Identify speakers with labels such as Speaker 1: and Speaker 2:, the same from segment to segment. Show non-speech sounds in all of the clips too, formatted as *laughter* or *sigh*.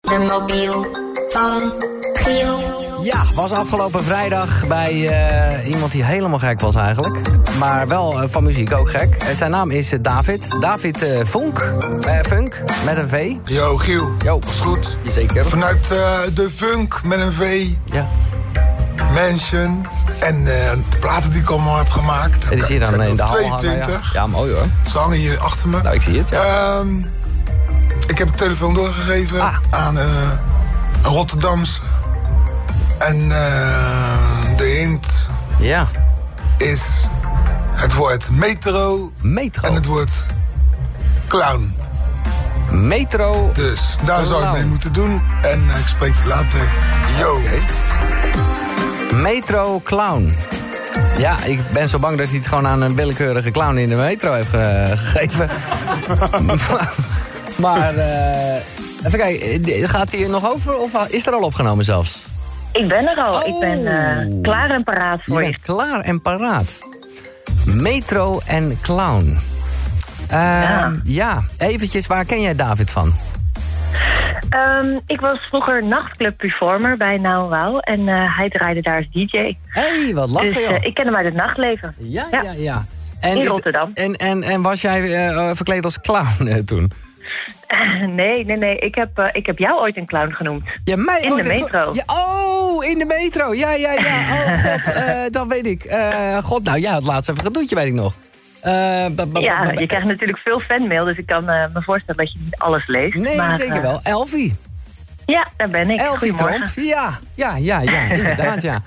Speaker 1: De mobiel van Giel.
Speaker 2: Ja, was afgelopen vrijdag bij eh, iemand die helemaal gek was eigenlijk. Maar wel eh, van muziek ook gek. Eh, zijn naam is eh, David. David eh Funk. Eh, Funk, met een V.
Speaker 3: Yo, Giel.
Speaker 2: Yo.
Speaker 3: Is goed.
Speaker 2: Zeker.
Speaker 3: Vanuit eh, de funk met een V,
Speaker 2: Ja.
Speaker 3: Mansion en eh, de platen die ik allemaal heb gemaakt.
Speaker 2: Het is hier dan
Speaker 3: Ik heb
Speaker 2: in de
Speaker 3: er
Speaker 2: hal hangen. Ja.
Speaker 3: 22.
Speaker 2: ja, mooi hoor.
Speaker 3: Ze hangen hier achter me.
Speaker 2: Nou, ik zie het. Ja.
Speaker 3: Ehm, ik heb de telefoon doorgegeven
Speaker 2: Ah.
Speaker 3: aan eh, een Rotterdamse. En eh, de hint
Speaker 2: ja.
Speaker 3: is het woord metro en
Speaker 2: Metro.
Speaker 3: het woord clown.
Speaker 2: Metro.
Speaker 3: Dus daar zou ik
Speaker 2: Clown.
Speaker 3: mee moeten doen. En eh, ik spreek je later. Yo.
Speaker 2: Metro Clown. Ja, ik ben zo bang dat hij het gewoon aan een willekeurige clown in de metro heeft ge- gegeven.
Speaker 4: *laughs*
Speaker 2: maar, maar eh, even kijken, eh, gaat hij er nog over of eh, is er al opgenomen zelfs?
Speaker 4: Ik ben er al.
Speaker 2: Oh.
Speaker 4: Ik ben eh, klaar en paraat
Speaker 2: Je
Speaker 4: voor je.
Speaker 2: bent klaar en paraat. Metro en clown. Eh, ja. eventjes, waar ken jij David van?
Speaker 4: Ehm, ik was vroeger nachtclub performer bij Now Wow. En eh, hij draaide daar als DJ.
Speaker 2: Hé, hey, wat lachen
Speaker 4: Dus
Speaker 2: joh.
Speaker 4: eh, ik ken hem uit het nachtleven.
Speaker 2: Ja, ja,
Speaker 4: ja.
Speaker 2: ja. En
Speaker 4: In
Speaker 2: is-
Speaker 4: Rotterdam.
Speaker 2: En, en, en was jij eh, verkleed als clown eh, toen?
Speaker 4: *laughs* Nee, nee, nee. Ik heb, eh, ik heb jou ooit een clown genoemd.
Speaker 2: Ja, mij
Speaker 4: In
Speaker 2: ooit
Speaker 4: de
Speaker 2: een-
Speaker 4: metro.
Speaker 2: Ja, oh, in de metro. Ja, ja,
Speaker 4: *laughs*
Speaker 2: ja. Oh, god, eh, dat weet ik. Eh, god, nou ja, het laatste even gedoetje weet ik nog. Eh, ba- ba-
Speaker 4: Ja,
Speaker 2: ba- ba-
Speaker 4: je krijgt natuurlijk veel fanmail, dus ik kan eh, me voorstellen dat je niet alles leest.
Speaker 2: Nee,
Speaker 4: maar,
Speaker 2: zeker
Speaker 4: eh,
Speaker 2: wel. Elfie.
Speaker 4: ja, daar ben ik.
Speaker 2: Elfie Tromp.
Speaker 4: Goedemorgen.
Speaker 2: Ja, ja, ja, ja, inderdaad,
Speaker 4: *laughs*
Speaker 2: ja.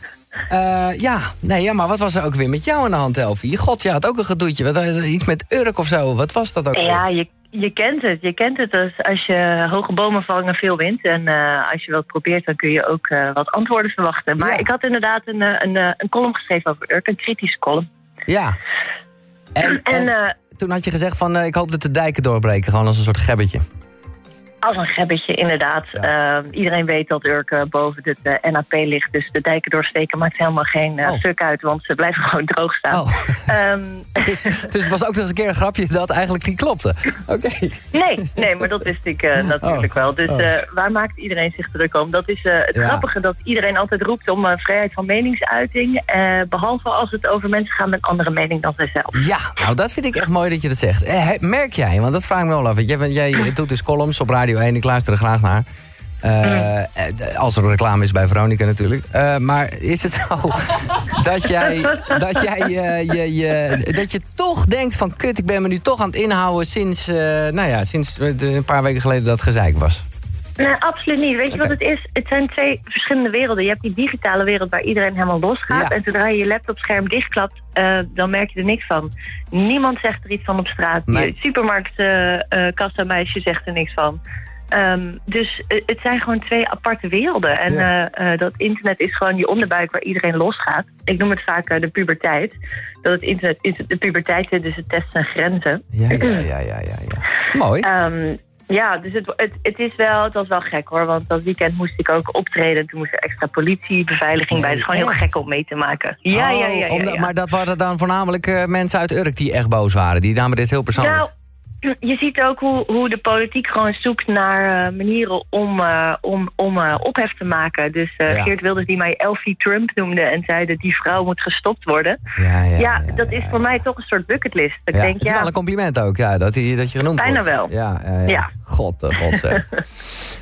Speaker 2: Eh, ja, nee, ja, maar wat was er ook weer met jou aan de hand, Elfie? God, je had ook een gedoetje. Wat, eh, iets met Urk of zo. Wat was dat ook? weer?
Speaker 4: Ja, je, je kent het. Je kent het als, als je hoge bomen vangen veel wind. En eh, als je wat probeert, dan kun je ook eh, wat antwoorden verwachten. Maar
Speaker 2: Ja.
Speaker 4: ik had inderdaad een, eh, een, eh, een column geschreven over Urk, een kritische column.
Speaker 2: ja. En,
Speaker 4: En
Speaker 2: en
Speaker 4: eh,
Speaker 2: toen had je gezegd van, eh, ik hoop dat de dijken doorbreken. Gewoon als een soort gebbetje.
Speaker 4: als een gebbetje, inderdaad. Eh, iedereen weet dat Urk eh, boven het eh, NAP ligt. Dus de dijken doorsteken maakt helemaal geen eh,
Speaker 2: Oh.
Speaker 4: stuk uit, want ze blijven *laughs* gewoon droog staan.
Speaker 2: Oh.
Speaker 4: Ehm,
Speaker 2: Dus, dus *laughs* het was ook nog eens een keer een grapje dat eigenlijk niet
Speaker 4: *laughs*
Speaker 2: klopte. Oké.
Speaker 4: Nee, nee, maar dat wist ik eh, natuurlijk
Speaker 2: Oh,
Speaker 4: wel. Dus
Speaker 2: oh.
Speaker 4: eh, waar maakt iedereen zich druk om? Dat is eh, het
Speaker 2: Ja.
Speaker 4: grappige dat iedereen altijd roept om eh, vrijheid van meningsuiting. eh, behalve als het over mensen gaat met andere mening dan zijzelf.
Speaker 2: Ja, nou dat vind ik echt mooi dat je dat zegt. Eh, he- merk jij, want dat vraag ik me wel af. want Jij, bent- jij doet dus columns op Radio 1, ik luister er graag naar. Eh, eh, Als er reclame is bij Veronica natuurlijk. Eh, maar is het zo *laughs* dat jij, dat, jij eh, je, je, dat je toch denkt van... kut, ik ben me nu toch aan het inhouden sinds, eh, nou ja, sinds eh, de- een paar weken geleden dat gezeik was?
Speaker 4: Nee, absoluut niet. Weet je
Speaker 2: Oké.
Speaker 4: wat het is? Het zijn twee verschillende werelden. Je hebt die digitale wereld waar iedereen helemaal losgaat.
Speaker 2: Ja.
Speaker 4: En zodra je je laptopscherm dichtklapt, eh, dan merk je er niks van. Niemand zegt er iets van op straat.
Speaker 2: Nee.
Speaker 4: Je supermarktkastameisje zegt er niks van. Ehm, dus eh, het zijn gewoon twee aparte werelden. En
Speaker 2: Ja.
Speaker 4: eh, eh, dat internet is gewoon die onderbuik waar iedereen losgaat. Ik noem het vaak eh, de puberteit. Dat het internet is de puberteit, eh, dus het test zijn grenzen.
Speaker 2: Ja, ja, ja, ja, ja. ja. Mooi.
Speaker 4: Ehm, ja, dus het, het, het is wel, het was wel gek hoor. Want dat weekend moest ik ook optreden. Toen moest er extra politie, beveiliging bij. Het is gewoon heel
Speaker 2: echt?
Speaker 4: gek om mee te maken. Ja, ja,
Speaker 2: Oh,
Speaker 4: ja. ja,
Speaker 2: omdat-
Speaker 4: ja.
Speaker 2: Maar dat waren dan voornamelijk eh, mensen uit Urk die echt boos waren. Die namen dit heel persoonlijk.
Speaker 4: Nou, *clears throat* je ziet ook hoe, hoe de politiek gewoon zoekt naar eh, manieren om, eh, om, om eh, ophef te maken. Dus eh,
Speaker 2: Ja.
Speaker 4: Geert Wilders die mij Elfie Trump noemde en zei dat die vrouw moet gestopt worden.
Speaker 2: ja,
Speaker 4: Ja, dat is voor mij toch een soort bucketlist. Dat
Speaker 2: Ja,
Speaker 4: ik denk,
Speaker 2: het is wel
Speaker 4: ja,
Speaker 2: een compliment ook, ja, dat, hij, dat je genoemd
Speaker 4: Bijna
Speaker 2: wordt.
Speaker 4: wel.
Speaker 2: Ja, ja, ja.
Speaker 4: Ja.
Speaker 2: God, eh, god
Speaker 4: *laughs*
Speaker 2: zeg.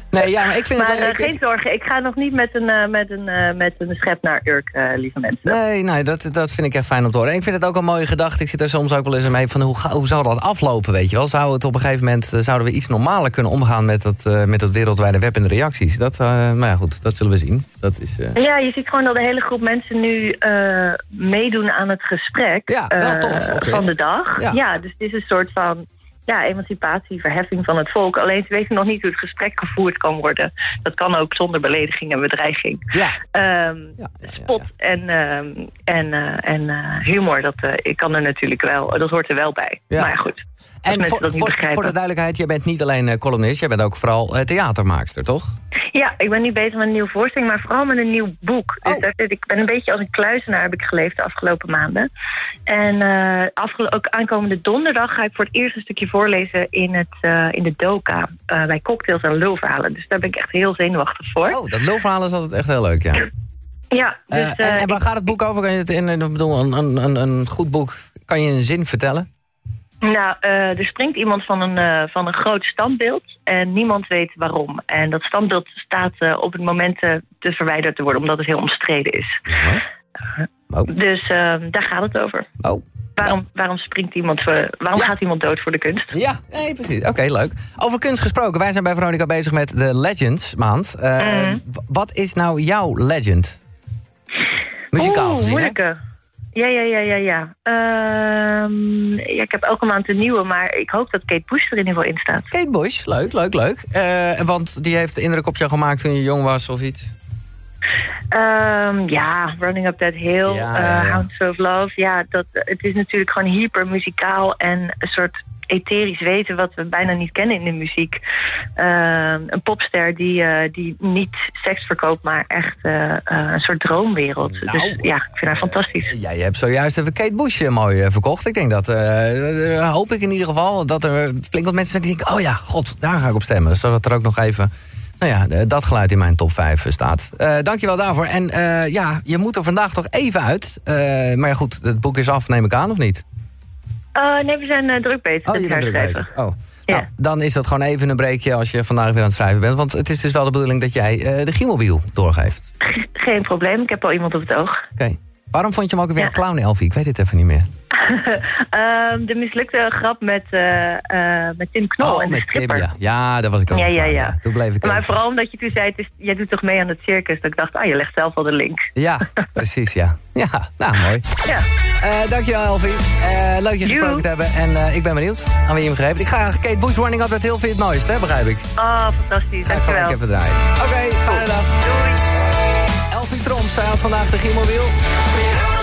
Speaker 2: nee, ja, maar ik vind
Speaker 4: maar
Speaker 2: het...
Speaker 4: eh,
Speaker 2: ik-
Speaker 4: geen
Speaker 2: ik-
Speaker 4: zorgen. Ik ga nog niet met een, eh, met een, eh, met een schep naar Urk, eh, lieve mensen.
Speaker 2: Nee, nee dat, dat vind ik echt fijn om te horen. En ik vind het ook een mooie gedachte. Ik zit er soms ook wel eens mee van hoe, ga- hoe zou dat aflopen, weet je wel? Zou het op een gegeven moment, eh, zouden we iets normaler kunnen omgaan met dat, eh, met dat wereldwijde web en de reacties? Dat, eh maar ja, goed, dat zullen we zien. Dat is... eh,
Speaker 4: Ja, je ziet gewoon dat de hele groep mensen nu eh, meedoen aan het gesprek
Speaker 2: Ja, wel
Speaker 4: eh,
Speaker 2: tof, op zich.
Speaker 4: van de dag.
Speaker 2: Ja.
Speaker 4: Ja. dus het is een soort van ja, emancipatie, verheffing van het volk. Alleen ze weten nog niet hoe het gesprek gevoerd kan worden. Dat kan ook zonder belediging en bedreiging.
Speaker 2: ja.
Speaker 4: Ehm,
Speaker 2: Ja, ja, ja,
Speaker 4: spot en, ehm, en, eh, en eh, humor, dat eh, ik kan er natuurlijk wel, dat hoort er wel bij.
Speaker 2: Ja.
Speaker 4: Maar goed, als
Speaker 2: En
Speaker 4: mensen
Speaker 2: voor,
Speaker 4: dat niet
Speaker 2: voor,
Speaker 4: begrijpen.
Speaker 2: voor de duidelijkheid, jij bent niet alleen eh, columnist, jij bent ook vooral eh, theatermaakster, toch?
Speaker 4: Ja, ik ben nu bezig met een nieuwe voorstelling, maar vooral met een nieuw boek. Dus
Speaker 2: Oh.
Speaker 4: daar zit, ik ben een beetje als een kluizenaar heb ik geleefd de afgelopen maanden. En eh, afgelo- ook aankomende donderdag ga ik voor het eerst een stukje voorlezen in, het, eh, in de doka. eh, bij cocktails en lulverhalen. Dus daar ben ik echt heel zenuwachtig voor.
Speaker 2: Oh, dat lulverhaal is altijd echt heel leuk,
Speaker 4: *laughs*
Speaker 2: ja.
Speaker 4: Ja, dus,
Speaker 2: Eh, en,
Speaker 4: eh,
Speaker 2: en waar gaat het boek over? Kan je het in, in- ik bedoel, een, een, een, een goed boek, kan je een zin vertellen?
Speaker 4: Nou, eh, er springt iemand van een, eh, van een groot standbeeld en niemand weet waarom. En dat standbeeld staat eh, op het moment eh, te verwijderd te worden, omdat het heel omstreden is.
Speaker 2: Oh,
Speaker 4: Dus eh, daar gaat het over.
Speaker 2: oh.
Speaker 4: Waarom, waarom springt iemand, eh, waarom
Speaker 2: Ja.
Speaker 4: gaat iemand dood voor de kunst?
Speaker 2: Ja, nee, precies. Oké, leuk. Over kunst gesproken, wij zijn bij Veronica bezig met de Legends maand. Eh,
Speaker 4: Mhm.
Speaker 2: w- Wat is nou jouw legend? Muzikaal
Speaker 4: Oeh,
Speaker 2: gezien, hè?
Speaker 4: moeilijke. Ja, ja, ja, ja, ja. Ehm, ja. Ik heb elke maand een nieuwe, maar ik hoop dat Kate Bush er in ieder geval in staat.
Speaker 2: Kate Bush, leuk, leuk, leuk. Eh, want die heeft indruk op jou gemaakt toen je jong was of iets.
Speaker 4: Ehm, ja, Running Up That Hill,
Speaker 2: Ja,
Speaker 4: eh,
Speaker 2: ja, ja.
Speaker 4: Hounds of Love. Ja, dat, het is natuurlijk gewoon hyper muzikaal en een soort etherisch weten wat we bijna niet kennen in de muziek. Ehm, een popster die, eh, die niet seks verkoopt, maar echt eh, eh, een soort droomwereld.
Speaker 2: Nou,
Speaker 4: dus ja, ik vind haar fantastisch.
Speaker 2: Ja, je hebt zojuist even Kate Bush eh, mooi eh, verkocht. Ik denk dat, eh, eh, hoop ik in ieder geval, dat er flink wat mensen zijn die denken... oh ja, god, daar ga ik op stemmen. Dus Zodat er ook nog even, nou ja, eh, dat geluid in mijn top 5 staat. Eh dankjewel daarvoor. En eh, ja, je moet er vandaag toch even uit. Eh, maar ja, goed, het boek is af, neem ik aan, of niet?
Speaker 4: Eh, nee, we zijn eh, druk bezig
Speaker 2: Oh,
Speaker 4: met
Speaker 2: je
Speaker 4: het
Speaker 2: bent druk
Speaker 4: herschrijven.
Speaker 2: bezig. Oh.
Speaker 4: Ja.
Speaker 2: Nou, dan is dat gewoon even een breekje als je vandaag weer aan het schrijven bent. Want het is dus wel de bedoeling dat jij eh, de Giemobiel doorgeeft. Oké.
Speaker 4: Ge- *laughs* Geen probleem, ik heb al iemand op het oog.
Speaker 2: Waarom vond je hem ook weer
Speaker 4: Ja.
Speaker 2: een clown, Elfie? Ik weet het even niet meer.
Speaker 4: Ehm, de mislukte grap met, eh, eh, met Tim Knol en de
Speaker 2: Oh, met Tim,
Speaker 4: stripper.
Speaker 2: ja. Oh, nou Ja, daar was ik ook
Speaker 4: Ja,
Speaker 2: aan
Speaker 4: ja,
Speaker 2: het
Speaker 4: ja.
Speaker 2: Toen bleef ik
Speaker 4: Maar
Speaker 2: ook.
Speaker 4: vooral omdat je toen zei, het is, jij doet toch mee aan het circus? Dat ik dacht, ah, je legt zelf al de link. *laughs*
Speaker 2: Ja, precies, ja. Ja, nou, mooi.
Speaker 4: Ja.
Speaker 2: Eh, dankjewel, Elfie. Eh, leuk je gesproken te hebben. En eh, ik ben benieuwd aan wie je hem geeft. Ik ga Kate Bush Running Up Dat heel veel het mooiste, hè, begrijp ik.
Speaker 4: Oh, fantastisch.
Speaker 2: Ga ik gelijk
Speaker 4: Dankjewel.
Speaker 2: even draaien. Oké, fijne dag.
Speaker 4: Doei.
Speaker 2: Elfie Tromp, zij had vandaag de Giemobiel.